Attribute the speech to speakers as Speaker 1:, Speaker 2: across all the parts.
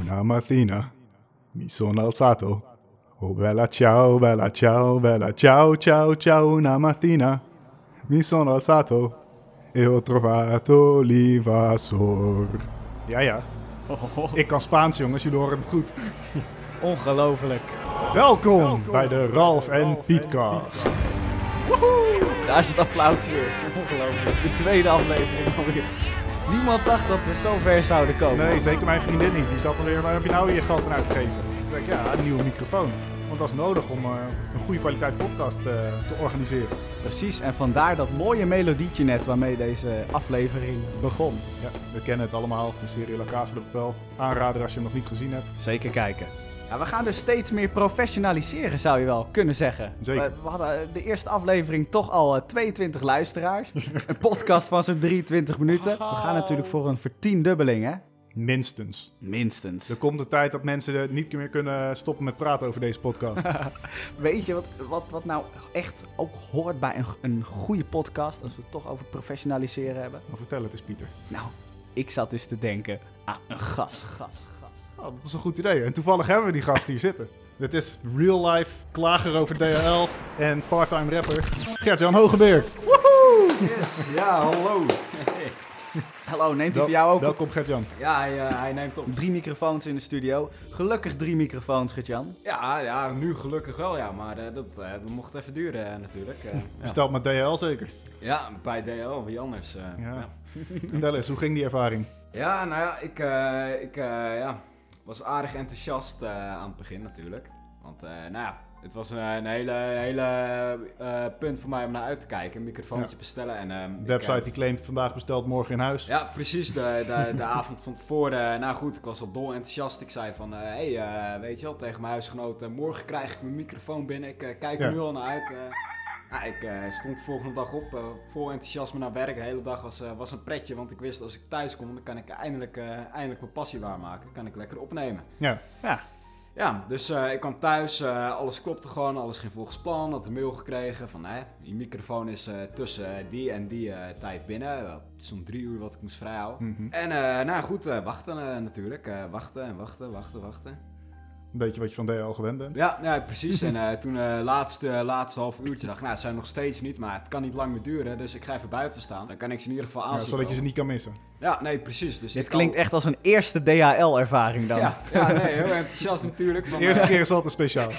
Speaker 1: Una mattina mi sono alzato. Oh bella ciao, bella ciao, bella ciao, ciao, ciao. Una mattina mi sono alzato e ho trovato Livasor. Ja, ja. Ik kan Spaans, jongens. Jullie horen het goed.
Speaker 2: Ongelooflijk.
Speaker 1: Welkom, bij de Ralf en Pietcast.
Speaker 2: Daar is het applaus weer. Ongelooflijk. De tweede aflevering alweer. Niemand dacht dat we zo ver zouden komen.
Speaker 1: Nee, zeker mijn vriendin niet. Die zat alweer, waar heb je nou je geld aan uitgegeven? Toen zei ik, ja, een nieuwe microfoon. Want dat is nodig om eh, een goede kwaliteit podcast eh, te organiseren.
Speaker 2: Precies, en vandaar dat mooie melodietje net waarmee deze aflevering begon.
Speaker 1: Ja, we kennen het allemaal. De serie La Casa de Papel. Aanrader als je hem nog niet gezien hebt.
Speaker 2: Zeker kijken. Ja, we gaan dus steeds meer professionaliseren, zou je wel kunnen zeggen.
Speaker 1: Zeker.
Speaker 2: We, we hadden eh, de eerste aflevering toch al eh, 22 luisteraars. een podcast van zo'n 23 minuten. We gaan natuurlijk voor een vertiendubbeling, hè?
Speaker 1: Minstens.
Speaker 2: Minstens.
Speaker 1: Er komt de tijd dat mensen eh, niet meer kunnen stoppen met praten over deze podcast.
Speaker 2: Weet je wat, wat, wat nou echt ook hoort bij een, een goede podcast, als we het toch over professionaliseren hebben?
Speaker 1: Maar vertel het eens, Pieter.
Speaker 2: Nou, ik zat dus te denken aan een gast, gast, gast.
Speaker 1: Oh, dat is een goed idee. En toevallig hebben we die gast hier zitten. Dit is real life klager over DHL en parttime rapper Gert-Jan Hogeberg.
Speaker 3: Yes, ja, hallo.
Speaker 2: Hallo, neemt hij voor jou ook op?
Speaker 1: Welkom Gert-Jan.
Speaker 3: Ja, hij, eh, hij neemt op.
Speaker 2: Drie microfoons in de studio. Gelukkig drie microfoons, Gert-Jan.
Speaker 3: Ja, ja, nu gelukkig wel, ja, maar eh, dat, eh, dat mocht even duren eh, natuurlijk. eh, ja.
Speaker 1: Besteld met DHL zeker.
Speaker 3: ja, bij DL, wie anders. eh, ja.
Speaker 1: Ja.
Speaker 3: Ja.
Speaker 1: Vertel eens, hoe ging die ervaring?
Speaker 3: nou ja, ik, eh, ik eh, ja, was aardig enthousiast eh, aan het begin natuurlijk. Want, eh, nou ja, het was een, een hele, hele eh, punt voor mij om naar uit te kijken. Een microfoontje
Speaker 1: Ja.
Speaker 3: bestellen en... ehm,
Speaker 1: De
Speaker 3: ik,
Speaker 1: website
Speaker 3: eh,
Speaker 1: die claimt vandaag besteld, morgen in huis.
Speaker 3: Ja, precies. De, de, de avond van tevoren. Nou goed, ik was al dol enthousiast. Ik zei van, hé, hey, eh, weet je wel, tegen mijn huisgenoten. Morgen krijg ik mijn microfoon binnen. Ik eh, kijk er
Speaker 1: Ja.
Speaker 3: nu al naar uit. eh. Nou, ik eh, stond de volgende dag op, eh, vol enthousiasme naar werk. De hele dag was, eh, was een pretje, want ik wist als ik thuis kom, dan kan ik eindelijk, eh, eindelijk mijn passie waarmaken. Kan ik lekker opnemen.
Speaker 1: Ja.
Speaker 3: Ja, dus eh, ik kwam thuis, eh, alles klopte gewoon, alles ging volgens plan. Had een mail gekregen van, hè, je microfoon is eh, tussen die en die eh, tijd binnen. Dat is Zo'n drie uur wat ik moest vrijhouden.
Speaker 1: Mhm.
Speaker 3: En eh, nou goed, eh, wachten eh, natuurlijk. Eh, wachten en wachten, wachten, wachten.
Speaker 1: Een beetje wat je van DHL gewend bent.
Speaker 3: Ja, ja precies. en eh, toen eh laatste, laatste half uurtje dacht ik, nou, ze zijn nog steeds niet, maar het kan niet lang meer duren. Dus ik ga even buiten staan. Dan kan ik ze in ieder geval
Speaker 1: Ja,
Speaker 3: aanzien.
Speaker 1: zodat je ze niet kan missen.
Speaker 3: Ja, nee, precies. Dus
Speaker 2: Dit
Speaker 3: ik kan-
Speaker 2: klinkt echt als een eerste DHL-ervaring dan.
Speaker 3: Ja, ja, nee, heel enthousiast natuurlijk.
Speaker 1: De
Speaker 3: Van,
Speaker 1: eerste
Speaker 3: eh,
Speaker 1: keer is altijd speciaal.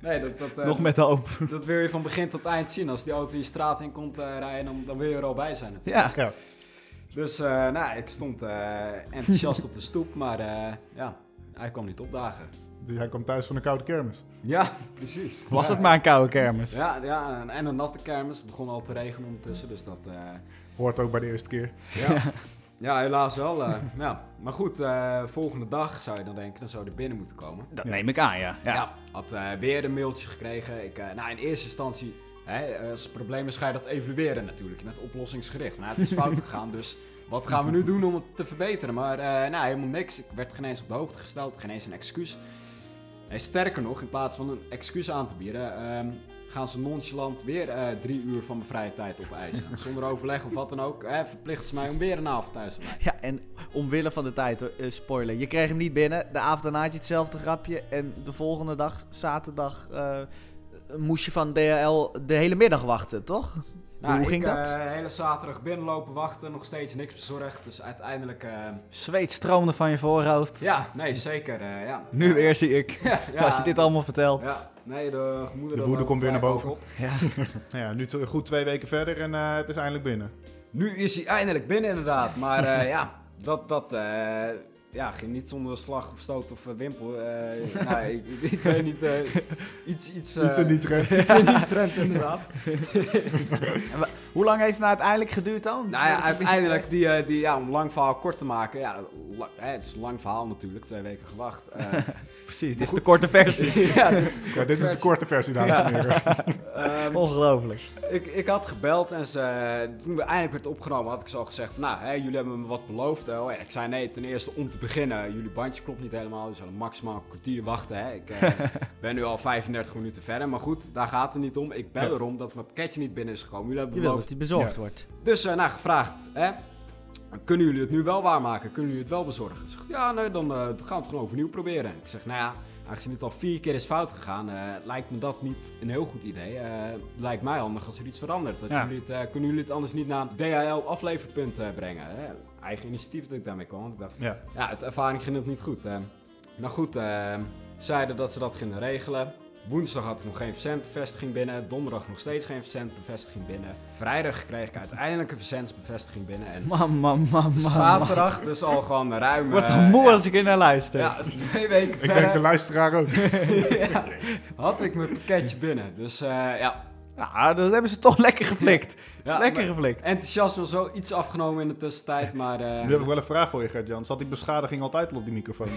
Speaker 3: nee, dat, dat, eh,
Speaker 2: Nog met de hoop.
Speaker 3: Dat wil je van begin tot eind zien. Als die auto je straat in komt eh, rijden, dan, dan wil je er al bij zijn.
Speaker 2: Ja.
Speaker 1: Ja.
Speaker 3: Dus eh, nou, ik stond eh, enthousiast op de stoep, maar eh, ja, hij kwam niet opdagen.
Speaker 1: Dus hij kwam thuis van een koude kermis.
Speaker 3: Ja, precies.
Speaker 2: Was
Speaker 3: Ja.
Speaker 2: het maar een koude kermis.
Speaker 3: Ja, ja en, en een natte kermis. Het begon al te regenen ondertussen, dus dat... eh,
Speaker 1: Hoort ook bij de eerste keer.
Speaker 3: ja. ja, helaas wel. eh, ja. Maar goed, eh, volgende dag zou je dan denken, dan zou je er binnen moeten komen.
Speaker 2: Dat
Speaker 1: Ja.
Speaker 2: neem ik aan, ja.
Speaker 3: Ja.
Speaker 2: ja.
Speaker 3: had eh, weer een mailtje gekregen. Ik, eh, nou, in eerste instantie, hè, als het probleem is, ga je dat evalueren natuurlijk. Je bent oplossingsgericht. Nou, het is fout gegaan, dus wat gaan we nu doen om het te verbeteren? Maar eh, nou, helemaal niks. Ik werd geen eens op de hoogte gesteld, geen eens een excuus. En sterker nog, in plaats van een excuus aan te bieden, ehm, gaan ze nonchalant weer eh, drie uur van mijn vrije tijd opeisen. Zonder overleg of wat dan ook, eh, verplichten ze mij om weer een avond thuis te blijven.
Speaker 4: Ja, en omwille van de tijd, hoor, eh, spoiler. Je kreeg hem niet binnen. De avond daarna had je hetzelfde grapje. En de volgende dag, zaterdag, eh, moest je van DHL de hele middag wachten, toch?
Speaker 2: Nou,
Speaker 4: Hoe ging
Speaker 3: ik,
Speaker 4: dat?
Speaker 3: eh, hele zaterdag binnenlopen, wachten, nog steeds niks bezorgd. Dus uiteindelijk... ehm,
Speaker 2: Zweet stroomde van je voorhoofd.
Speaker 3: Ja, nee, zeker. eh, ja.
Speaker 2: Nu weer zie ik.
Speaker 3: Ja,
Speaker 2: Als je dit allemaal vertelt.
Speaker 3: Ja, nee, de gemoeder...
Speaker 1: De woede komt
Speaker 3: eh,
Speaker 1: weer naar boven.
Speaker 2: Ja.
Speaker 1: Nou ja, nu t- goed twee weken verder en eh, het is eindelijk binnen.
Speaker 3: Nu is hij eindelijk binnen, inderdaad. Maar eh, ja, dat, dat eh, ja, ging niet zonder slag of stoot of eh, wimpel. eh nou, ik, ik- ik weet niet. eh, iets, iets, eh,
Speaker 1: Iets in die trend.
Speaker 3: iets in die trend, inderdaad.
Speaker 2: Hoe lang heeft het nou uiteindelijk geduurd dan?
Speaker 3: Nou ja, uiteindelijk, die, eh, die, ja, om lang verhaal kort te maken. Ja, la- hè, het is een lang verhaal natuurlijk, twee weken gewacht. eh.
Speaker 2: Precies, dit is de korte versie.
Speaker 3: ja, dus, dit is-
Speaker 1: Ja, dit is de korte versie, dames en heren.
Speaker 3: ehm,
Speaker 2: Ongelooflijk.
Speaker 3: Ik, ik had gebeld en ze, toen we eindelijk werd opgenomen had ik zo gezegd van, nou, hè, jullie hebben me wat beloofd. hè. Oh, ja, ik zei nee, ten eerste om te beginnen, jullie bandje klopt niet helemaal, dus zullen maximaal een kwartier wachten. Hè. Ik eh, ben nu al 35 minuten verder, maar goed, daar gaat het niet om. Ik bel
Speaker 1: Ja.
Speaker 3: erom dat mijn pakketje niet binnen is gekomen, jullie hebben
Speaker 4: Je wil
Speaker 3: beloofd.
Speaker 4: dat hij bezorgd wordt.
Speaker 3: Dus, eh, nou, gevraagd, hè. kunnen jullie het nu wel waarmaken? Kunnen jullie het wel bezorgen? Ze zegt, ja, nee, dan eh, gaan we het gewoon overnieuw proberen. Ik zeg, nou ja, aangezien het al vier keer is fout gegaan, eh, lijkt me dat niet een heel goed idee. Eh, het lijkt mij handig als er iets verandert. Dat
Speaker 2: Ja.
Speaker 3: jullie het, eh, kunnen jullie het anders niet naar DHL afleverpunt eh, brengen? Hè? Eigen initiatief dat ik daarmee kwam, want ik dacht,
Speaker 1: Ja.
Speaker 3: ja, het ervaring ging het niet goed. eh. nou goed, eh, zeiden dat ze dat gingen regelen. Woensdag had ik nog geen verzendbevestiging binnen. Donderdag nog steeds geen verzendbevestiging binnen. Vrijdag kreeg ik uiteindelijk een verzendbevestiging binnen. En
Speaker 2: Man, man, man, man.
Speaker 3: zaterdag dus al gewoon ruim...
Speaker 2: Wordt
Speaker 3: eh,
Speaker 2: dan moe
Speaker 3: ja,
Speaker 2: als ik er naar luister.
Speaker 3: Ja, twee weken
Speaker 1: Ik denk de
Speaker 3: verder
Speaker 1: luisteraar ook.
Speaker 3: ja, had ik mijn pakketje binnen. Dus eh, ja,
Speaker 2: Ja, Nou, dat hebben ze toch lekker geflikt.
Speaker 3: ja,
Speaker 2: lekker
Speaker 3: maar
Speaker 2: geflikt.
Speaker 3: Enthousiasme zo iets afgenomen in de tussentijd, maar... eh,
Speaker 1: Nu heb ik wel een vraag voor je, Gert-Jan. Zat die beschadiging altijd al op die microfoon?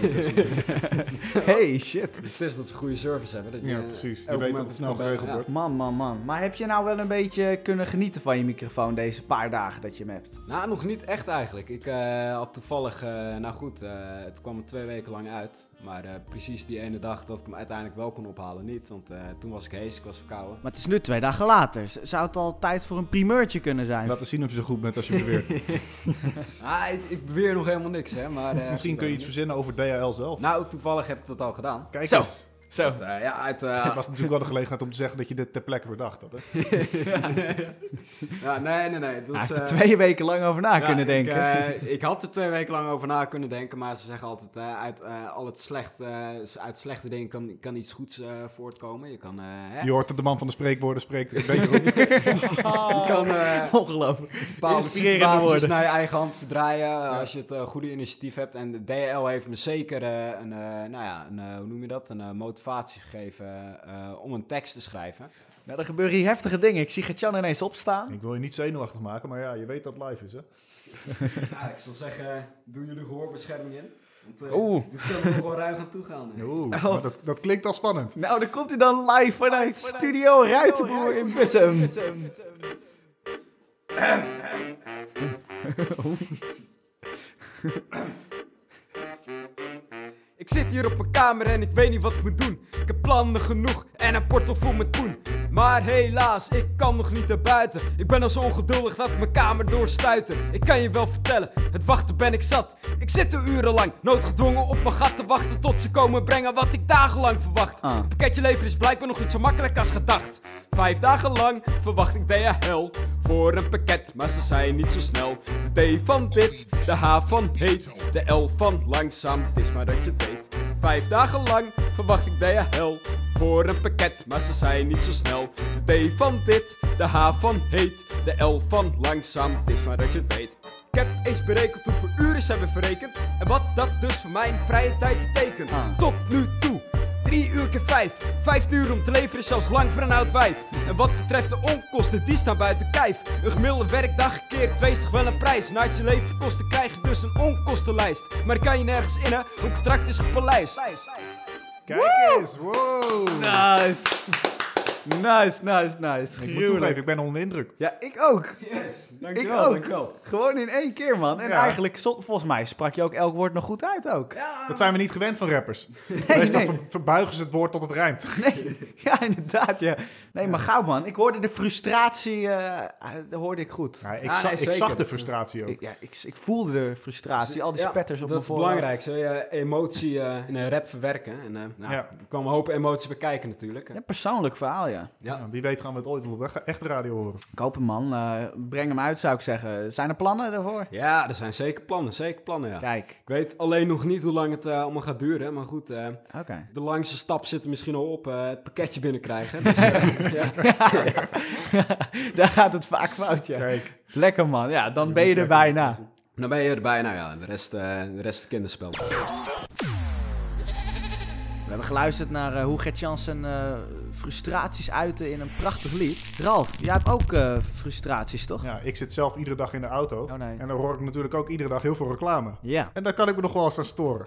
Speaker 2: Hey, shit.
Speaker 3: Het is dat ze goede service hebben. Dat je,
Speaker 1: ja,
Speaker 3: eh,
Speaker 1: precies. Je
Speaker 3: elk
Speaker 1: weet
Speaker 3: moment
Speaker 1: dat het
Speaker 3: het
Speaker 1: snel
Speaker 3: kan
Speaker 1: geregeld
Speaker 3: bellen.
Speaker 1: wordt.
Speaker 2: Man, man, man. Maar heb je nou wel een beetje kunnen genieten van je microfoon deze paar dagen dat je hem hebt?
Speaker 3: Nou, nog niet echt eigenlijk. Ik eh, had toevallig, eh, nou goed, eh, het kwam er twee weken lang uit. Maar eh, precies die ene dag dat ik hem uiteindelijk wel kon ophalen, niet. Want eh, toen was ik hees, ik was verkouden.
Speaker 4: Maar het is nu twee dagen later. Z- Zou het al tijd voor een primeurtje kunnen zijn?
Speaker 1: Laten zien of je zo goed bent als je beweert.
Speaker 3: Ah, ik, ik beweer nog helemaal niks, hè. Maar, eh,
Speaker 1: Misschien kun je iets verzinnen over DHL zelf.
Speaker 3: Nou, toevallig heb ik dat al gedaan.
Speaker 1: Kijk
Speaker 4: Zo.
Speaker 1: eens.
Speaker 4: Zo.
Speaker 3: Want, eh, ja, uit, eh,
Speaker 1: Het was natuurlijk wel de gelegenheid om te zeggen dat je dit ter plekke bedacht had. Hè?
Speaker 3: ja, nee, nee, nee. Dus,
Speaker 2: Hij heeft er
Speaker 3: eh,
Speaker 2: twee weken lang over na
Speaker 3: ja,
Speaker 2: kunnen denken.
Speaker 3: Ik, eh, ik had er twee weken lang over na kunnen denken, maar ze zeggen altijd, eh, uit, eh, al het slecht, eh, uit slechte dingen kan, kan iets goeds eh, voortkomen. Je kan, eh, hè,
Speaker 1: Je hoort dat de man van de spreekwoorden spreekt. Ik weet het ook niet.
Speaker 3: je kan eh,
Speaker 2: Ongelooflijk.
Speaker 3: bepaalde
Speaker 2: Inspirerende
Speaker 3: situaties
Speaker 2: woorden.
Speaker 3: naar je eigen hand verdraaien eh, als je het eh, goede initiatief hebt. En de DL heeft me zeker eh, een, eh, nou ja, een, eh, hoe noem je dat, een eh, motivatie gegeven eh, om een tekst te schrijven.
Speaker 2: Nou, er gebeuren hier heftige dingen. Ik zie Gertjan ineens opstaan.
Speaker 1: Ik wil je niet zenuwachtig maken, maar ja, je weet dat het live is. Hè?
Speaker 3: Nou, ik zal zeggen, doen jullie gehoorbescherming in. Want, eh,
Speaker 2: Oeh.
Speaker 3: Dit kan er nog wel ruig aan toe gaan. hè.
Speaker 1: Oeh, maar dat, dat klinkt al spannend.
Speaker 2: Nou, dan komt hij dan live vanuit Studio Ruitenboer in Bussum.
Speaker 3: Ik zit hier op mijn kamer en ik weet niet wat ik moet doen. Ik heb plannen genoeg en een portel vol met poen. Maar helaas, ik kan nog niet naar buiten. Ik ben al zo ongeduldig dat ik mijn kamer doorstuiten. Ik kan je wel vertellen, het wachten ben ik zat. Ik zit er urenlang, noodgedwongen op mijn gat te wachten tot ze komen brengen wat ik dagenlang verwacht.
Speaker 2: Ah.
Speaker 3: Een Pakketje leveren is blijkbaar nog niet zo makkelijk als gedacht. Vijf dagen lang verwacht ik DHL voor een pakket, maar ze zijn niet zo snel. De D van dit, de H van heet, de L van langzaam, het is maar dat je het weet. Vijf dagen lang verwacht ik DHL voor een pakket, maar ze zijn niet zo snel. De D van dit, de H van heet, de L van langzaam, het is maar dat je het weet. Ik heb eens berekend hoeveel uren ze hebben verrekend en wat dat dus voor mijn vrije tijd betekent.
Speaker 2: Ah.
Speaker 3: Tot nu toe 3 uur keer 5. 5 uur om te leveren is zelfs lang voor een oud wijf. En wat betreft de onkosten, die staan buiten kijf. Een gemiddelde werkdag keer 2 is toch wel een prijs. Naast je levenkosten krijg je dus een onkostenlijst. Maar daar kan je nergens in, hè? Een contract is gepaleist.
Speaker 1: Kijk eens, wow.
Speaker 2: Nice. Nice, nice, nice.
Speaker 1: ik moet toegeven,
Speaker 2: Gruwelijk.
Speaker 1: ik ben onder de indruk.
Speaker 2: Ja, ik ook.
Speaker 3: Yes,
Speaker 2: dankjewel, Ik ook. dankjewel. Gewoon in één keer, man. En
Speaker 1: Ja.
Speaker 2: eigenlijk, zo- volgens mij sprak je ook elk woord nog goed uit ook.
Speaker 1: Dat zijn we niet gewend van rappers. Meestal
Speaker 2: nee.
Speaker 1: ver- verbuigen ze het woord tot het rijmt.
Speaker 2: Nee, ja, inderdaad, ja. Nee, maar gauw, man. Ik hoorde de frustratie, eh, eh, dat hoorde ik goed.
Speaker 1: Ja, ik,
Speaker 3: Ja,
Speaker 1: za-
Speaker 3: nee,
Speaker 1: ik
Speaker 3: zeker.
Speaker 1: zag de
Speaker 3: Dat-
Speaker 1: frustratie ook.
Speaker 2: Ik, ja, ik, ik voelde de frustratie, al die spetters op
Speaker 3: dat
Speaker 2: mijn
Speaker 3: is
Speaker 2: voorhoofd.
Speaker 3: belangrijk, zo je emotie eh, in een rap verwerken. En, eh nou,
Speaker 1: Ja.
Speaker 3: Er kwam een hoop emoties bekijken natuurlijk.
Speaker 2: Ja, persoonlijk verhaal, ja.
Speaker 1: Ja, wie weet gaan we het ooit op de echte radio horen.
Speaker 2: Koop hem, man. Eh, breng hem uit, zou ik zeggen. Zijn er plannen daarvoor?
Speaker 3: Ja, er zijn zeker plannen, zeker plannen ja.
Speaker 2: Kijk,
Speaker 3: Ik weet alleen nog niet hoe lang het eh, allemaal gaat duren, maar goed... eh,
Speaker 2: oké.
Speaker 3: De langste stap zit er misschien al op, eh, het pakketje binnenkrijgen. Dus, eh, ja.
Speaker 2: Daar gaat het vaak fout, ja.
Speaker 1: Kijk,
Speaker 2: Lekker, man. Ja, dan ben je er bijna.
Speaker 3: Dan ben je er bijna, ja. En De rest, eh, de rest is kinderspel.
Speaker 4: We hebben geluisterd naar eh, hoe Gert Jansen eh, frustraties uiten in een prachtig lied. Ralf, jij hebt ook eh, frustraties, toch?
Speaker 1: ja, ik zit zelf iedere dag in de auto.
Speaker 4: Oh, nee.
Speaker 1: En dan hoor ik natuurlijk ook iedere dag heel veel reclame.
Speaker 4: Ja.
Speaker 1: En daar kan ik me nog wel eens aan storen.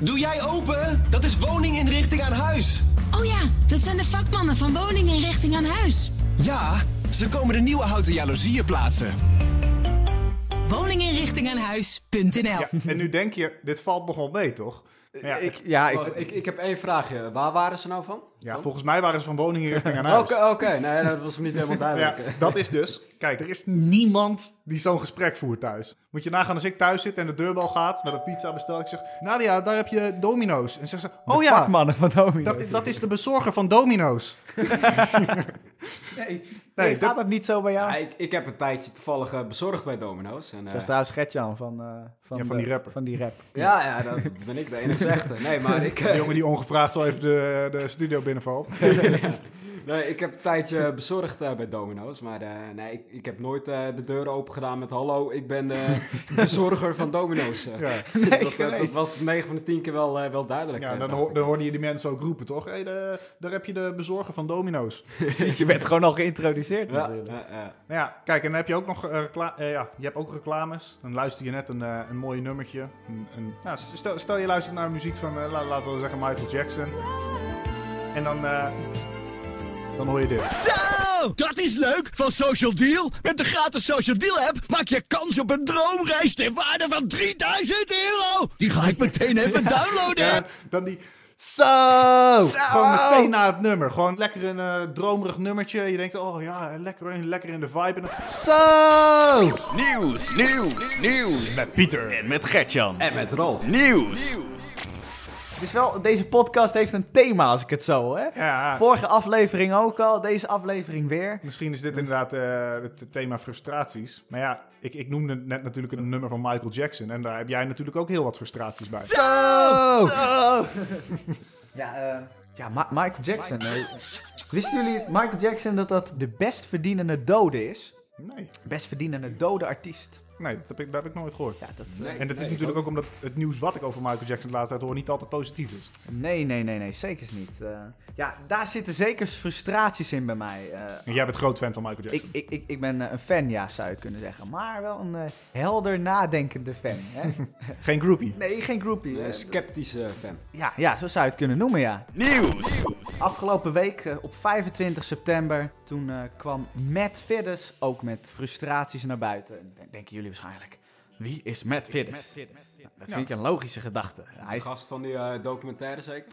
Speaker 5: Doe jij open? Dat is woninginrichting aan huis.
Speaker 6: Oh ja, dat zijn de vakmannen van woninginrichting aan huis.
Speaker 5: Ja, ze komen de nieuwe houten jaloezieën plaatsen.
Speaker 6: Woninginrichtingaanhuis.nl
Speaker 1: Ja, en nu denk je, dit valt nog wel mee, toch? Ja. Oh,
Speaker 2: Ik, ja, ik,
Speaker 3: Wacht, ik, ik heb één vraagje. Waar waren ze nou van?
Speaker 1: Ja,
Speaker 3: Van?
Speaker 1: volgens mij waren ze van woningen richting aan
Speaker 3: Oké,
Speaker 1: huis.
Speaker 3: oké. Nee, dat was niet helemaal
Speaker 1: Ja,
Speaker 3: duidelijk. Eh,
Speaker 1: dat is dus. Kijk, er is niemand die zo'n gesprek voert thuis. Moet je nagaan als ik thuis zit en de deurbel gaat, we hebben pizza besteld. Ik zeg, Nadia, daar heb je domino's. En ze zegt, ze, oh ja,
Speaker 2: vakmannen van Domino.
Speaker 1: dat, is- dat is de bezorger van domino's.
Speaker 2: nee,
Speaker 1: Nee,
Speaker 2: gaat
Speaker 1: dat-
Speaker 2: dat niet zo bij jou?
Speaker 3: ja, ik, ik heb een tijdje toevallig eh, bezorgd bij Domino's. En, eh,
Speaker 2: dat is trouwens Gertjan van, eh, van,
Speaker 1: Ja, van
Speaker 2: de-
Speaker 1: die rapper.
Speaker 2: Van die rap.
Speaker 3: ja, ja, dat ben ik de enige echte. Nee, maar ik,
Speaker 1: De
Speaker 3: eh,
Speaker 1: jongen die ongevraagd zo even de, de studio binnenvalt.
Speaker 3: nee, ik heb een tijdje bezorgd eh, bij Domino's. Maar eh, nee, ik, ik heb nooit eh, de deuren open gedaan met hallo, ik ben de bezorger van Domino's. Eh,
Speaker 1: Ja,
Speaker 3: dat, dat, dat was 9 van de 10 keer wel, eh, wel duidelijk.
Speaker 1: ja
Speaker 3: eh,
Speaker 1: dan,
Speaker 3: dacht
Speaker 1: hoor,
Speaker 3: ik.
Speaker 1: dan hoorde je die mensen ook roepen, toch? Hé, de- daar heb je de bezorger van domino's.
Speaker 2: Je bent gewoon al geïntroduceerd
Speaker 3: Ja,
Speaker 2: natuurlijk.
Speaker 3: ja, ja.
Speaker 1: Nou ja, kijk, en dan heb je ook nog eh, recla- eh, ja, je hebt ook reclames. Dan luister je net een, eh een mooi nummertje. Een, een, nou, stel, stel je luistert naar muziek van, eh, la- laten we zeggen, Michael Jackson. En dan, eh, dan hoor je dit.
Speaker 5: Zo, Nou, dat is leuk van Social Deal. Met de gratis Social Deal app maak je kans op een droomreis ter waarde van 3000 euro. Die ga ik meteen even downloaden.
Speaker 1: En dan die... Zo! Gewoon meteen na het nummer. Gewoon lekker een eh, dromerig nummertje. Je denkt, oh ja, lekker, lekker in de vibe. En dan,
Speaker 5: Zo!
Speaker 7: Nieuws, nieuws, nieuws. Met Pieter. En met Gertjan.
Speaker 3: En met Rolf.
Speaker 7: Nieuws.
Speaker 2: Het is wel, deze podcast heeft een thema als ik het zo hoor. hè?
Speaker 1: ja,
Speaker 2: Vorige aflevering ook al, deze aflevering weer.
Speaker 1: misschien is dit inderdaad eh, het thema frustraties. Maar ja, ik, ik noemde net natuurlijk een nummer van Michael Jackson. En daar heb jij natuurlijk ook heel wat frustraties bij.
Speaker 2: Ja, eh, ja Ma- Michael Jackson. eh, wisten jullie, Michael Jackson, dat dat de best verdienende dode is?
Speaker 1: Nee.
Speaker 2: Best verdienende dode artiest.
Speaker 1: Nee, dat heb ik, dat heb ik nooit gehoord.
Speaker 2: Ja, dat,
Speaker 1: en dat is natuurlijk ook omdat het nieuws wat ik over Michael Jackson de laatste tijd hoor niet altijd positief is.
Speaker 2: eh, Nee, nee, nee, nee, zeker niet. Eh, ja, daar zitten zeker frustraties in bij mij. eh,
Speaker 1: En jij bent groot fan van Michael
Speaker 2: ik,
Speaker 1: Jackson.
Speaker 2: ik, ik, ik ben eh, een fan, ja, zou je kunnen zeggen. Maar wel een eh, helder nadenkende fan. Hè?
Speaker 1: Geen groupie.
Speaker 2: Nee, geen groupie.
Speaker 3: Een
Speaker 2: eh,
Speaker 3: sceptische fan.
Speaker 2: ja, ja, zo zou je het kunnen noemen, ja.
Speaker 7: Nieuws.
Speaker 2: Afgelopen week, eh, op 25 september, toen eh, kwam Matt Fidders ook met frustraties naar buiten. En dan Denken jullie waarschijnlijk, wie is Matt Fidders? Nou, dat vind ik een logische gedachte. Hij
Speaker 3: De
Speaker 2: is-
Speaker 3: gast van die eh, documentaire zeker?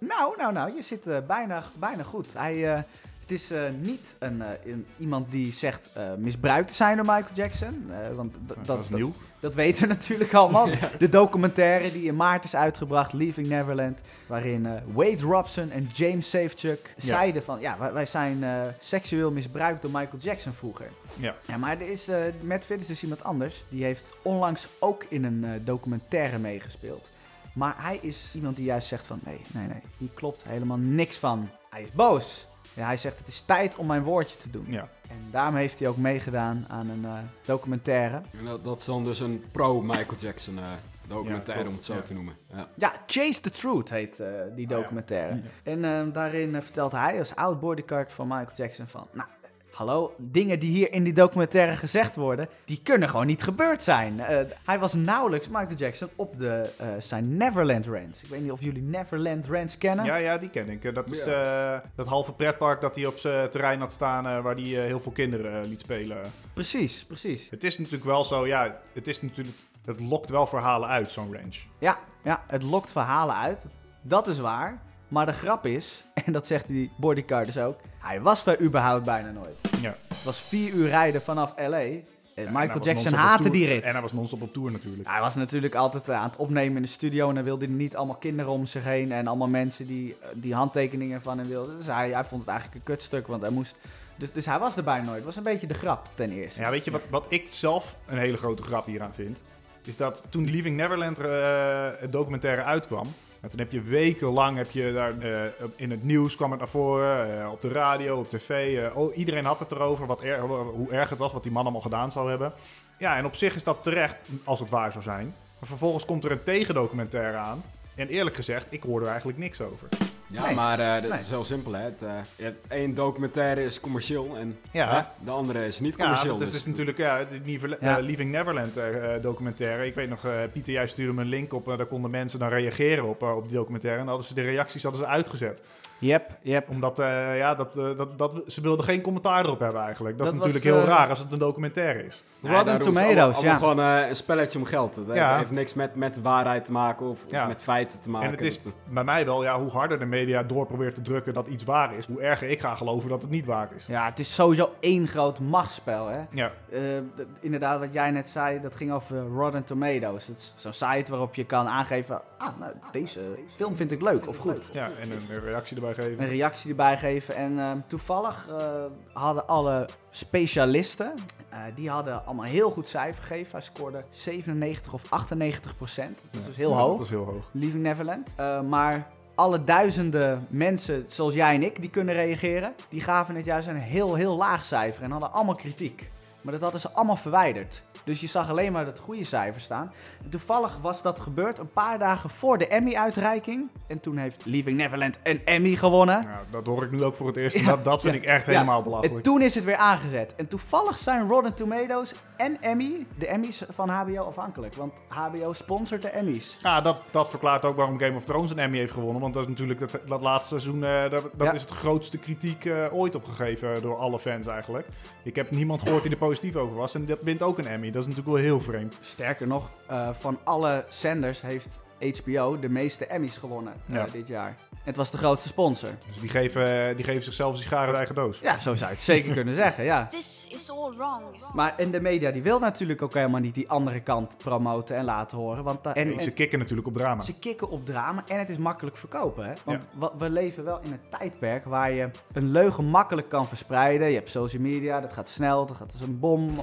Speaker 2: Nou, nou, nou, je zit eh, bijna, bijna goed. Hij, eh, het is eh, niet een, eh, een- iemand die zegt eh, misbruikt te zijn door Michael Jackson. eh, want d- dat,
Speaker 1: dat is nieuw.
Speaker 2: dat weten we natuurlijk allemaal. De documentaire die in maart is uitgebracht, Leaving Neverland. Waarin eh, Wade Robson en James Safechuck zeiden van... Ja, wij, wij zijn eh, seksueel misbruikt door Michael Jackson vroeger.
Speaker 1: Ja.
Speaker 2: Ja, maar er is, eh Matt Fitt is dus iemand anders. Die heeft onlangs ook in een eh, documentaire meegespeeld. Maar hij is iemand die juist zegt van... Nee, nee, nee, hier klopt helemaal niks van. Hij is boos. Ja, hij zegt het is tijd om mijn woordje te doen.
Speaker 1: Ja.
Speaker 2: En daarom heeft hij ook meegedaan aan een eh, documentaire.
Speaker 3: En Dat, dat is dan dus een pro-Michael Jackson eh,
Speaker 1: Ja,
Speaker 3: documentaire,
Speaker 1: klopt,
Speaker 3: om het zo
Speaker 1: ja.
Speaker 3: te noemen. Ja.
Speaker 2: Ja, Chase the Truth heet eh, die documentaire. En eh, daarin eh, vertelt hij als oud bodyguard van Michael Jackson van... Nou, eh, hallo, dingen die hier in die documentaire gezegd worden... die kunnen gewoon niet gebeurd zijn. Eh, hij was nauwelijks Michael Jackson op de, eh, zijn Neverland Ranch. Ik weet niet of jullie Neverland Ranch kennen.
Speaker 1: Ja, ja, die ken ik. Eh, Dat is eh, dat halve pretpark dat hij op zijn terrein had staan eh, waar hij eh, heel veel kinderen eh, liet spelen.
Speaker 2: Precies, precies.
Speaker 1: Het is natuurlijk wel zo, ja, het is natuurlijk, het lokt wel verhalen uit, zo'n range.
Speaker 2: Ja, ja, het lokt verhalen uit. Dat is waar. Maar de grap is, en dat zegt die bodyguard dus ook... hij was daar überhaupt bijna nooit.
Speaker 1: Ja.
Speaker 2: Het was vier uur rijden vanaf L.A. En
Speaker 1: En hij
Speaker 2: Michael
Speaker 1: was
Speaker 2: Jackson
Speaker 1: non-stop op
Speaker 2: haatte
Speaker 1: tour.
Speaker 2: die rit.
Speaker 1: En hij was non-stop op tour natuurlijk.
Speaker 2: Hij was natuurlijk altijd eh, aan het opnemen in de studio en dan wilde hij niet allemaal kinderen om zich heen en allemaal mensen die, eh, die handtekeningen van hem wilden. Dus hij, hij vond het eigenlijk een kutstuk, want hij moest... Dus, dus hij was er bijna nooit. Het was een beetje de grap ten eerste.
Speaker 1: Ja, weet je wat, wat ik zelf een hele grote grap hieraan vind? Is dat toen Leaving Neverland eh, het documentaire uitkwam. En toen heb je wekenlang heb je daar, eh, op- in het nieuws kwam het naar voren, eh, op de radio, op tv. eh, oh, iedereen had het erover, wat er, hoe erg het was, wat die man allemaal gedaan zou hebben. Ja, en op zich is dat terecht, als het waar zou zijn. Maar vervolgens komt er een tegendocumentaire aan. En eerlijk gezegd, ik hoorde er eigenlijk niks over.
Speaker 3: Ja,
Speaker 2: Nee.
Speaker 3: maar eh, dat
Speaker 2: Nee.
Speaker 3: is heel simpel. Hè. Het, eh, je hebt één documentaire is commercieel en
Speaker 1: Ja.
Speaker 3: hè, de andere is niet
Speaker 1: Ja,
Speaker 3: commercieel.
Speaker 1: dat is
Speaker 3: dus
Speaker 1: dus natuurlijk ja, die Never-
Speaker 2: Ja.
Speaker 1: eh, Leaving Neverland eh, eh, documentaire. Ik weet nog, eh, Pieter, jij stuurde me een link op. en daar konden mensen dan reageren op, eh, op die documentaire. En dan hadden ze de reacties hadden ze uitgezet.
Speaker 2: Yep, yep.
Speaker 1: Omdat eh, ja, dat, eh, dat, dat, ze wilden geen commentaar erop hebben eigenlijk. Dat,
Speaker 2: Dat
Speaker 1: is
Speaker 2: was,
Speaker 1: natuurlijk heel
Speaker 2: eh,
Speaker 1: raar als het een documentaire is.
Speaker 3: Nee,
Speaker 2: Rotten
Speaker 3: daarom is het
Speaker 2: Tomatoes,
Speaker 3: allemaal-
Speaker 2: ja.
Speaker 3: allemaal gewoon eh, een spelletje om geld. Het heeft-
Speaker 1: Ja.
Speaker 3: heeft niks met, met waarheid te maken of, of
Speaker 1: Ja.
Speaker 3: met feiten te maken.
Speaker 1: en het is
Speaker 3: Ah, Dat-
Speaker 1: bij mij wel, ja, hoe harder de media door probeert te drukken dat iets waar is, hoe erger ik ga geloven dat het niet waar is.
Speaker 2: Ja, het is sowieso één groot machtsspel, hè.
Speaker 1: Ja,
Speaker 2: Eh, d- inderdaad, wat jij net zei, dat ging over Rotten Tomatoes. Het is zo'n site waarop je kan aangeven, ah, nou, deze film vind ik leuk of goed.
Speaker 1: ja en een een reactie erbij
Speaker 2: Een
Speaker 1: geven.
Speaker 2: reactie erbij geven. En ehm, toevallig eh, hadden alle specialisten, eh, die hadden allemaal een heel goed cijfer gegeven. Hij scoorde 97 of 98 procent. Dat is dus heel
Speaker 1: Ja,
Speaker 2: hoog.
Speaker 1: Dat is heel hoog.
Speaker 2: Leaving Neverland. Eh, maar alle duizenden mensen, zoals jij en ik, die kunnen reageren, die gaven het juist een heel, heel laag cijfer en hadden allemaal kritiek. Maar dat hadden ze allemaal verwijderd. Dus je zag alleen maar dat goede cijfer staan. En toevallig was dat gebeurd een paar dagen voor de Emmy-uitreiking. En toen heeft Leaving Neverland een Emmy gewonnen.
Speaker 1: Nou, dat hoor ik nu ook voor het eerst. en dat, dat vind ik echt
Speaker 2: Ja.
Speaker 1: helemaal
Speaker 2: En
Speaker 1: belachelijk.
Speaker 2: toen is het weer aangezet. En toevallig zijn Rotten Tomatoes en Emmy, de Emmys van HBO afhankelijk. Want HBO sponsort de Emmys.
Speaker 1: Ja, dat, dat verklaart ook waarom Game of Thrones een Emmy heeft gewonnen. Want dat is natuurlijk dat, dat laatste seizoen, eh, dat, dat
Speaker 2: Ja.
Speaker 1: is het grootste kritiek eh, ooit opgegeven door alle fans eigenlijk. Ik heb niemand gehoord die er positief over was. En dat wint ook een Emmy. Dat is natuurlijk wel heel vreemd.
Speaker 2: Sterker nog, eh, van alle zenders heeft HBO de meeste Emmys gewonnen eh,
Speaker 1: Ja.
Speaker 2: dit jaar. Het was de grootste sponsor.
Speaker 1: Dus die geven, die geven zichzelf de sigaren uit eigen doos.
Speaker 2: Ja, zo zou je het zeker kunnen zeggen, ja.
Speaker 6: This is all wrong.
Speaker 2: Maar en de media die wil natuurlijk ook helemaal niet die andere kant promoten en laten horen. Want da- en,
Speaker 1: En, ze
Speaker 2: en
Speaker 1: kicken natuurlijk op drama.
Speaker 2: ze kicken op drama en het is makkelijk verkopen. Hè? Want
Speaker 1: Ja.
Speaker 2: wa- we leven wel in een tijdperk waar je een leugen makkelijk kan verspreiden. Je hebt social media, dat gaat snel, dat gaat als een bom.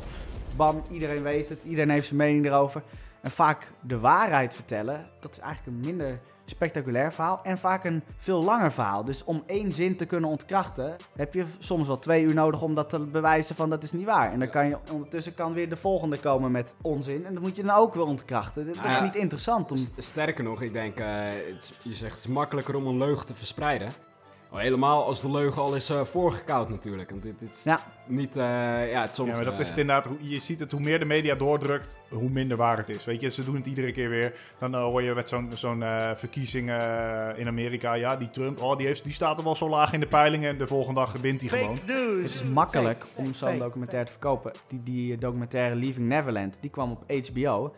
Speaker 2: Bam, iedereen weet het, iedereen heeft zijn mening erover. En vaak de waarheid vertellen, dat is eigenlijk een minder spectaculair verhaal en vaak een veel langer verhaal. Dus om één zin te kunnen ontkrachten, heb je soms wel twee uur nodig om dat te bewijzen van dat is niet waar. En dan kan je ondertussen kan weer de volgende komen met onzin en dat moet je dan ook weer ontkrachten. Dat, dat is
Speaker 3: Ja.
Speaker 2: niet interessant.
Speaker 1: Dus
Speaker 2: Om...
Speaker 3: S- Sterker nog, ik denk, eh, het is- je zegt het is makkelijker om een leugen te verspreiden. Al helemaal als de leugen al is eh, voorgekoud natuurlijk. Want dit, dit is
Speaker 2: Ja.
Speaker 3: niet, eh, ja, het soms,
Speaker 1: Ja, maar dat
Speaker 3: eh,
Speaker 1: is het inderdaad. hoe- Je ziet het, hoe meer de media doordrukt, hoe minder waar het is. Weet je, ze doen het iedere keer weer. Dan eh, hoor je met zo'n zo'n eh, verkiezing eh, in Amerika. Ja, die Trump, oh, die, heeft, die staat er wel zo laag in de peilingen. En de volgende dag wint hij gewoon.
Speaker 2: Het is makkelijk om zo'n documentaire te verkopen. Die, die eh, documentaire Leaving Neverland, die kwam op HBO.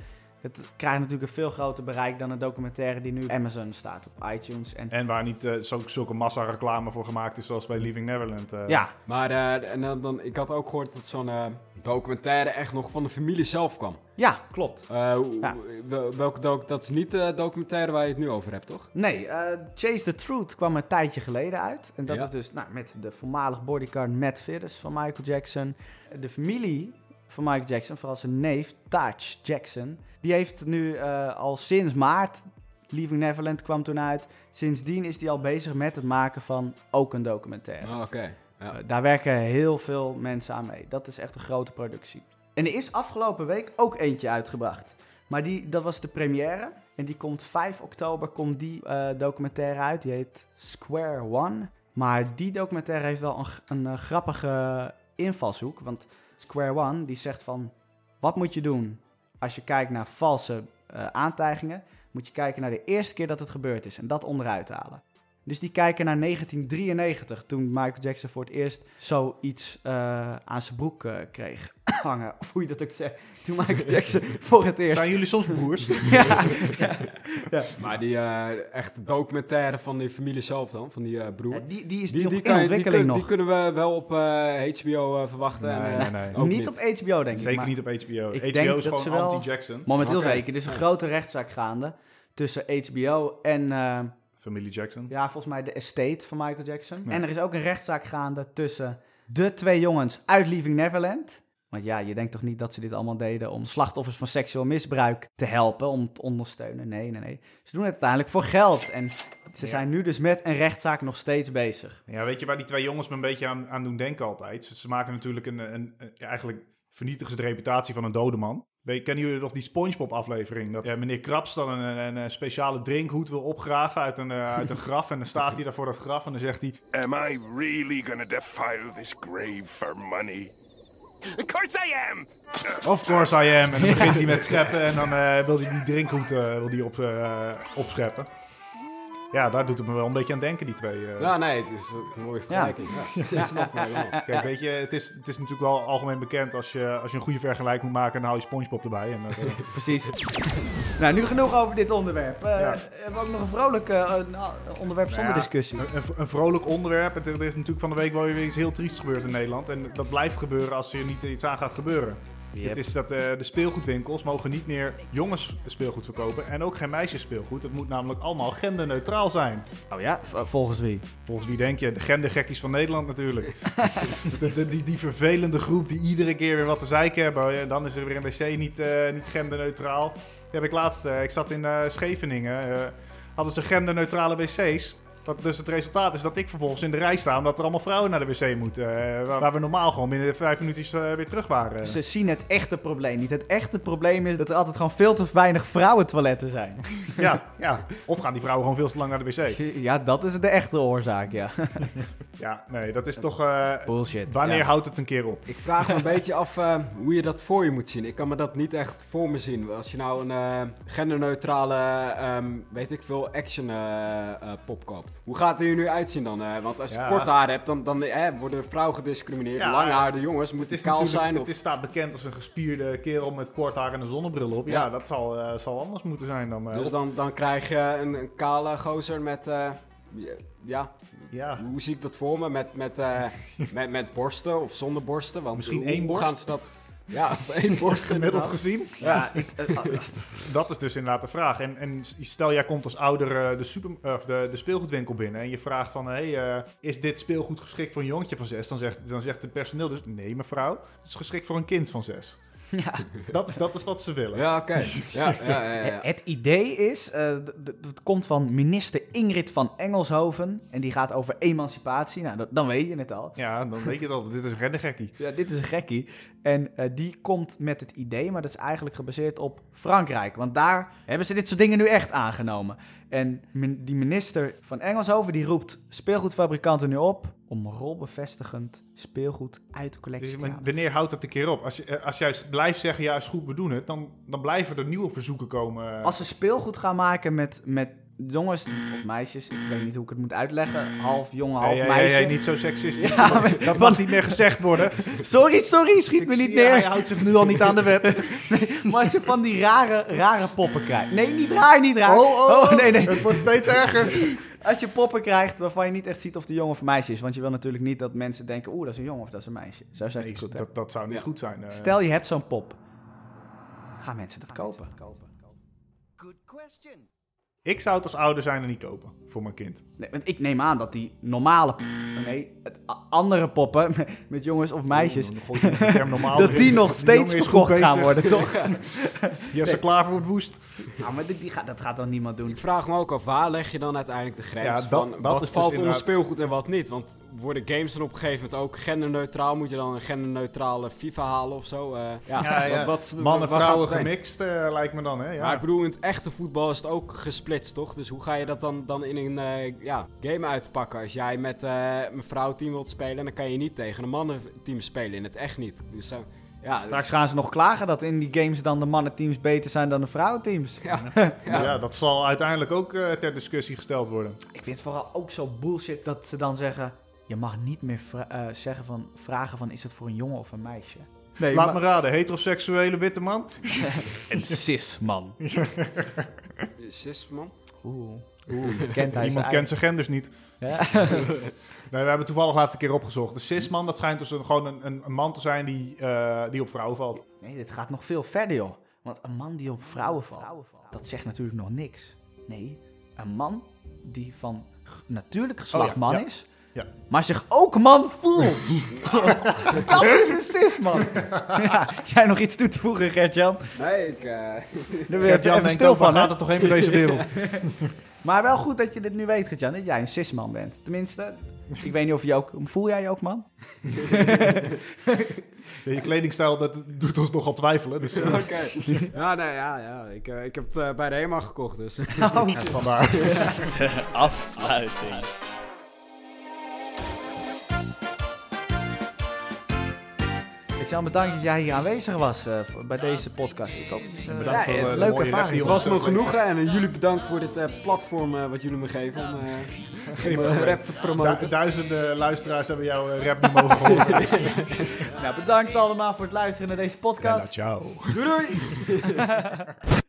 Speaker 2: Het krijgt natuurlijk een veel groter bereik dan een documentaire die nu op Amazon staat, op iTunes. En,
Speaker 1: En waar niet eh, zo- zulke massa-reclame voor gemaakt is zoals bij Leaving Neverland. eh.
Speaker 2: ja,
Speaker 3: Maar eh, en dan, dan, ik had ook gehoord dat zo'n eh, documentaire echt nog van de familie zelf kwam.
Speaker 2: ja, klopt.
Speaker 3: Eh, hoe-
Speaker 2: Ja.
Speaker 3: wel- welke doc, dat is niet de documentaire waar je het nu over hebt, toch?
Speaker 2: Nee, eh, Chase the Truth kwam een tijdje geleden uit. En dat
Speaker 3: Ja.
Speaker 2: is dus nou, met de voormalig bodyguard Matt Fidders van Michael Jackson. De familie van Michael Jackson, vooral zijn neef Taj Jackson. Die heeft nu eh, al sinds maart, Leaving Neverland kwam toen uit. Sindsdien is hij al bezig met het maken van ook een documentaire.
Speaker 3: Ah, Oké.
Speaker 2: Eh,
Speaker 3: Ja.
Speaker 2: daar werken heel veel mensen aan mee. Dat is echt een grote productie. En er is afgelopen week ook eentje uitgebracht. Maar die, dat was de première. En die komt 5 oktober, komt die eh, documentaire uit. Die heet Square One. Maar die documentaire heeft wel een, g- een eh, grappige invalshoek. Want Square One die zegt van... Wat moet je doen als je kijkt naar valse eh, aantijgingen? Moet je kijken naar de eerste keer dat het gebeurd is. En dat onderuit halen. Dus die kijken naar 1993, toen Michael Jackson voor het eerst zoiets eh, aan zijn broek eh, kreeg hangen. Of hoe je dat ook zegt. Toen Michael Jackson voor het eerst...
Speaker 1: Zijn jullie soms broers?
Speaker 2: Ja,
Speaker 3: Maar die eh echte documentaire van die familie zelf dan, van die eh, broer.
Speaker 2: Ja, die, die is
Speaker 3: die,
Speaker 2: nog
Speaker 3: die,
Speaker 2: in
Speaker 3: kan je- die,
Speaker 2: ontwikkeling
Speaker 3: kun- die
Speaker 2: nog.
Speaker 3: kunnen we wel op eh, HBO eh, verwachten.
Speaker 1: Nee,
Speaker 3: en, eh,
Speaker 1: nee, nee.
Speaker 3: ook
Speaker 2: niet, op HBO, denk ik.
Speaker 1: Zeker
Speaker 2: maar
Speaker 1: niet op HBO.
Speaker 2: Ik
Speaker 1: HBO
Speaker 2: denk
Speaker 1: is
Speaker 2: dat ze
Speaker 1: gewoon
Speaker 2: wel-
Speaker 1: anti-Jackson.
Speaker 2: Momenteel
Speaker 3: Oké.
Speaker 2: zeker. Er is een grote rechtszaak gaande tussen HBO en, eh,
Speaker 1: Familie Jackson.
Speaker 2: ja, volgens mij de estate van Michael Jackson. En er is ook een rechtszaak gaande tussen de twee jongens uit Leaving Neverland. Want ja, je denkt toch niet dat ze dit allemaal deden om slachtoffers van seksueel misbruik te helpen, om te ondersteunen. Nee, nee, nee. Ze doen het uiteindelijk voor geld. En ze zijn nu dus met een rechtszaak nog steeds bezig.
Speaker 1: Ja, weet je waar die twee jongens me een beetje aan, aan doen denken altijd? Ze, ze maken natuurlijk een, een, een- eigenlijk vernietigen ze de reputatie van een dode man. Weet, kennen jullie nog die Spongebob-aflevering? Dat eh, meneer Krabs dan een, een, een speciale drinkhoed wil opgraven uit een, eh, uit een graf. En dan staat hij daar voor dat graf en dan zegt hij...
Speaker 7: Am I really gonna defile this grave for money? Of course I am!
Speaker 1: Of course I am. En dan begint hij met scheppen en dan eh, wil hij die drinkhoed eh, wil die op, eh, opscheppen. Ja, daar doet het me wel een beetje aan denken, die twee. eh.
Speaker 3: Ja, nee, het is een mooie vergelijking. Ja. Ze snappen me wel.
Speaker 1: Kijk, weet je, het is, het is natuurlijk wel algemeen bekend. Als je, als je een goede vergelijking moet maken, dan hou je Spongebob erbij. En, dat, eh,
Speaker 2: Precies. nou, nu genoeg over dit onderwerp. Eh,
Speaker 1: Ja. Nou
Speaker 2: Hebben we ook nog een vrolijk eh, een- een onderwerp zonder
Speaker 1: ja,
Speaker 2: discussie?
Speaker 1: Een, een- een vrolijk onderwerp. Het- Er is natuurlijk van de week wel weer iets heel triest gebeurd in Nederland. En dat blijft gebeuren als er niet iets aan gaat gebeuren. Het is dat eh, de speelgoedwinkels mogen niet meer jongens speelgoed verkopen en ook geen meisjes speelgoed. Het moet namelijk allemaal genderneutraal zijn.
Speaker 2: Oh ja, v- volgens wie?
Speaker 1: Volgens wie denk je? De gendergekkies van Nederland natuurlijk. De- de- die, die vervelende groep die iedere keer weer wat te zeiken hebben. En dan is er weer een wc niet, eh, niet genderneutraal. Die heb ik laatst, eh, ik zat in eh, Scheveningen, eh, hadden ze genderneutrale wc's. Dat, dus het resultaat is dat ik vervolgens in de rij sta omdat er allemaal vrouwen naar de wc moeten. eh, waar, waar we normaal gewoon binnen de vijf minuutjes eh, weer terug waren.
Speaker 2: Ze zien het echte probleem niet. Het echte probleem is dat er altijd gewoon veel te weinig vrouwentoiletten zijn.
Speaker 1: Ja, ja. Of gaan die vrouwen gewoon veel te lang naar de wc.
Speaker 2: Ja, dat is de echte oorzaak, ja.
Speaker 1: Ja, nee, dat is toch... eh,
Speaker 2: Bullshit.
Speaker 1: wanneer
Speaker 2: Ja.
Speaker 1: houdt het een keer op?
Speaker 3: Ik vraag me een beetje af eh, hoe je dat voor je moet zien. Ik kan me dat niet echt voor me zien. Als je nou een eh, genderneutrale, ehm, weet ik veel, action eh, eh, pop koopt. Hoe gaat het er nu uitzien dan? eh? want als je
Speaker 1: Ja.
Speaker 3: kort haar hebt, dan, dan eh, worden vrouwen gediscrimineerd.
Speaker 1: Ja,
Speaker 3: Lang haar, de jongens, moet
Speaker 1: Het is
Speaker 3: die kaal
Speaker 1: natuurlijk-
Speaker 3: zijn.
Speaker 1: het
Speaker 3: Of...
Speaker 1: is, staat bekend als een gespierde kerel met kort haar en een zonnebril op. Ja,
Speaker 3: Ja.
Speaker 1: dat zal, eh, zal anders moeten zijn dan... eh,
Speaker 3: Dus
Speaker 1: op-
Speaker 3: dan, dan krijg je een, een kale gozer met, eh, ja,
Speaker 1: ja.
Speaker 3: hoe zie ik dat voor me? Met, met, eh, met, met borsten of zonder borsten? Want
Speaker 1: Misschien
Speaker 3: hoe,
Speaker 1: één
Speaker 3: hoe
Speaker 1: borst?
Speaker 3: gaan ze dat... Ja, of één borst
Speaker 1: Gemiddeld
Speaker 3: inmiddels.
Speaker 1: gezien?
Speaker 2: Ja, ik, eh, ah,
Speaker 1: Dat is dus inderdaad de vraag. En, en stel, jij komt als ouder eh, de, super, of de, de speelgoedwinkel binnen en je vraagt van... Hey, eh, is dit speelgoed geschikt voor een jongetje van zes? Dan zegt, dan zegt het personeel dus... Nee, mevrouw, het is geschikt voor een kind van zes. Dat, is, dat is wat ze willen.
Speaker 3: Ja, oké. Ja, ja, ja, ja, ja.
Speaker 2: Het idee is, eh, d- d- het komt van minister Ingrid van Engelshoven. En die gaat over emancipatie. Nou, dat, dan weet je het al.
Speaker 1: Ja, dan weet je dat. Dit is een rennengekkie.
Speaker 2: Ja, dit is een gekkie. En eh, die komt met het idee, maar dat is eigenlijk gebaseerd op Frankrijk. Want daar hebben ze dit soort dingen nu echt aangenomen. En min- die minister van Engelshoven die roept speelgoedfabrikanten nu op om rolbevestigend speelgoed uit
Speaker 1: Dus
Speaker 2: de collectie te halen.
Speaker 1: wanneer houdt dat een keer op? Als, je- eh, als jij blijft zeggen, ja is goed, we doen het, dan, dan blijven er nieuwe verzoeken komen. eh,
Speaker 2: Als ze speelgoed gaan maken met, met jongens of meisjes, ik weet niet hoe ik het moet uitleggen, half jongen, half
Speaker 1: Nee, nee,
Speaker 2: meisje.
Speaker 1: nee, nee, niet zo seksistisch.
Speaker 2: Ja,
Speaker 1: dat,
Speaker 2: maar-
Speaker 1: dat mag niet meer gezegd worden.
Speaker 2: Sorry, sorry, schiet me
Speaker 1: Ik
Speaker 2: niet
Speaker 1: zie- Hij
Speaker 2: neer.
Speaker 1: houdt zich nu al niet aan de wet.
Speaker 2: Maar als je van die rare, rare poppen krijgt. Nee, niet raar, niet raar. Oh, nee, nee.
Speaker 1: Oh, Het wordt steeds erger.
Speaker 2: Als je poppen krijgt waarvan je niet echt ziet of de jongen of meisje is. Want je wil natuurlijk niet dat mensen denken, oeh, dat is een jongen of dat is een meisje. Zo zeg ik het goed, hè?
Speaker 1: dat, dat zou niet
Speaker 3: Ja.
Speaker 1: goed zijn. eh.
Speaker 2: Stel je hebt zo'n pop. Gaan mensen dat kopen?
Speaker 1: Ik zou het als ouder zijn en niet kopen voor mijn kind.
Speaker 2: Nee, want ik neem aan dat die normale... p- Nee, het a- andere poppen met- met jongens of meisjes...
Speaker 1: Dan gooi je de term normaal
Speaker 2: dat
Speaker 1: erin.
Speaker 2: die nog
Speaker 1: De
Speaker 2: steeds
Speaker 1: Oh, jongen is
Speaker 2: verkocht
Speaker 1: goed
Speaker 2: gaan
Speaker 1: bezig.
Speaker 2: worden, toch?
Speaker 1: Jesse Klaver wordt woest.
Speaker 2: Ja, maar die, die gaat, dat gaat dan niemand doen.
Speaker 3: Ik vraag me ook af, waar leg je dan uiteindelijk de grens
Speaker 1: Ja, dat-
Speaker 3: van
Speaker 1: dat
Speaker 3: wat
Speaker 1: is dus
Speaker 3: valt onder
Speaker 1: inderdaad-
Speaker 3: speelgoed en wat niet? Want worden games dan op een gegeven moment ook genderneutraal? Moet je dan een genderneutrale FIFA halen of zo? Eh, ja, Wat, wat,
Speaker 1: Mannen,
Speaker 3: waar
Speaker 1: vrouwen
Speaker 3: gaat het heen?
Speaker 1: gemixt eh, lijkt me dan. Hè? Ja.
Speaker 3: Maar ik bedoel, in het echte voetbal is het ook gesplitst, toch? Dus hoe ga je dat dan, dan in een eh, ja, game uitpakken? Als jij met eh, een vrouwteam wilt spelen, dan kan je niet tegen een mannenteam spelen. In het echt niet. Dus, eh, ja,
Speaker 2: Straks gaan ze nog klagen dat in die games dan de mannenteams beter zijn dan de vrouwenteams.
Speaker 1: ja. dat zal uiteindelijk ook eh, ter discussie gesteld worden.
Speaker 2: Ik vind het vooral ook zo bullshit dat ze dan zeggen... Je mag niet meer vra- eh, zeggen van, vragen van is het voor een jongen of een meisje? Nee,
Speaker 1: Laat me raden, heteroseksuele witte man?
Speaker 2: Een cis man.
Speaker 3: cis, man.
Speaker 2: Oeh. Oeh, kent hij
Speaker 1: Niemand kent zijn genders niet.
Speaker 2: Ja.
Speaker 1: Nee, we hebben toevallig laatste keer opgezocht. De cisman, dat schijnt dus een, gewoon een, een, een man te zijn die, eh, die op vrouwen valt.
Speaker 2: Nee, dit gaat nog veel verder, joh. Want een man die op vrouwen valt, dat zegt natuurlijk nog niks. Nee, een man die van g- natuurlijk geslacht
Speaker 1: Oh ja,
Speaker 2: man
Speaker 1: ja,
Speaker 2: is,
Speaker 1: ja.
Speaker 2: maar zich ook man voelt. dat is een cis, man. ja, jij nog iets toe te voegen, Gert-Jan?
Speaker 3: Nee, ik... eh,
Speaker 2: Daar ben je
Speaker 1: Gert-Jan
Speaker 2: even
Speaker 1: denkt
Speaker 2: stil
Speaker 1: ook, waar
Speaker 2: van, hè?
Speaker 1: gaat het toch heen met deze wereld?
Speaker 2: Maar wel goed dat je dit nu weet, Gert-Jan, dat jij een cisman bent. Tenminste, Ik weet niet of je ook... Voel jij je ook, man?
Speaker 1: Je kledingstijl, dat doet ons nogal twijfelen. Dus, eh,
Speaker 3: Oké. Ja, nee, ja, ja. Ik, eh, ik heb het eh, bij de HEMA gekocht, dus...
Speaker 1: vandaar.
Speaker 8: Afsluiting.
Speaker 2: Christian, bedankt dat jij hier aanwezig was eh, voor- bij deze podcast. Ik hoop, eh,
Speaker 1: Bedankt
Speaker 2: ja,
Speaker 1: voor, eh, de
Speaker 2: leuke
Speaker 1: mooie
Speaker 2: ervaring.
Speaker 1: regie,
Speaker 3: Het was me genoegen en eh, jullie bedankt voor dit eh, platform eh, wat jullie me geven om, eh, om, eh, rap te promoten.
Speaker 1: Du- duizenden luisteraars hebben jouw eh, rap niet mogen horen.
Speaker 2: Nou, bedankt allemaal voor het luisteren naar deze podcast.
Speaker 1: ciao.
Speaker 3: Doei doei!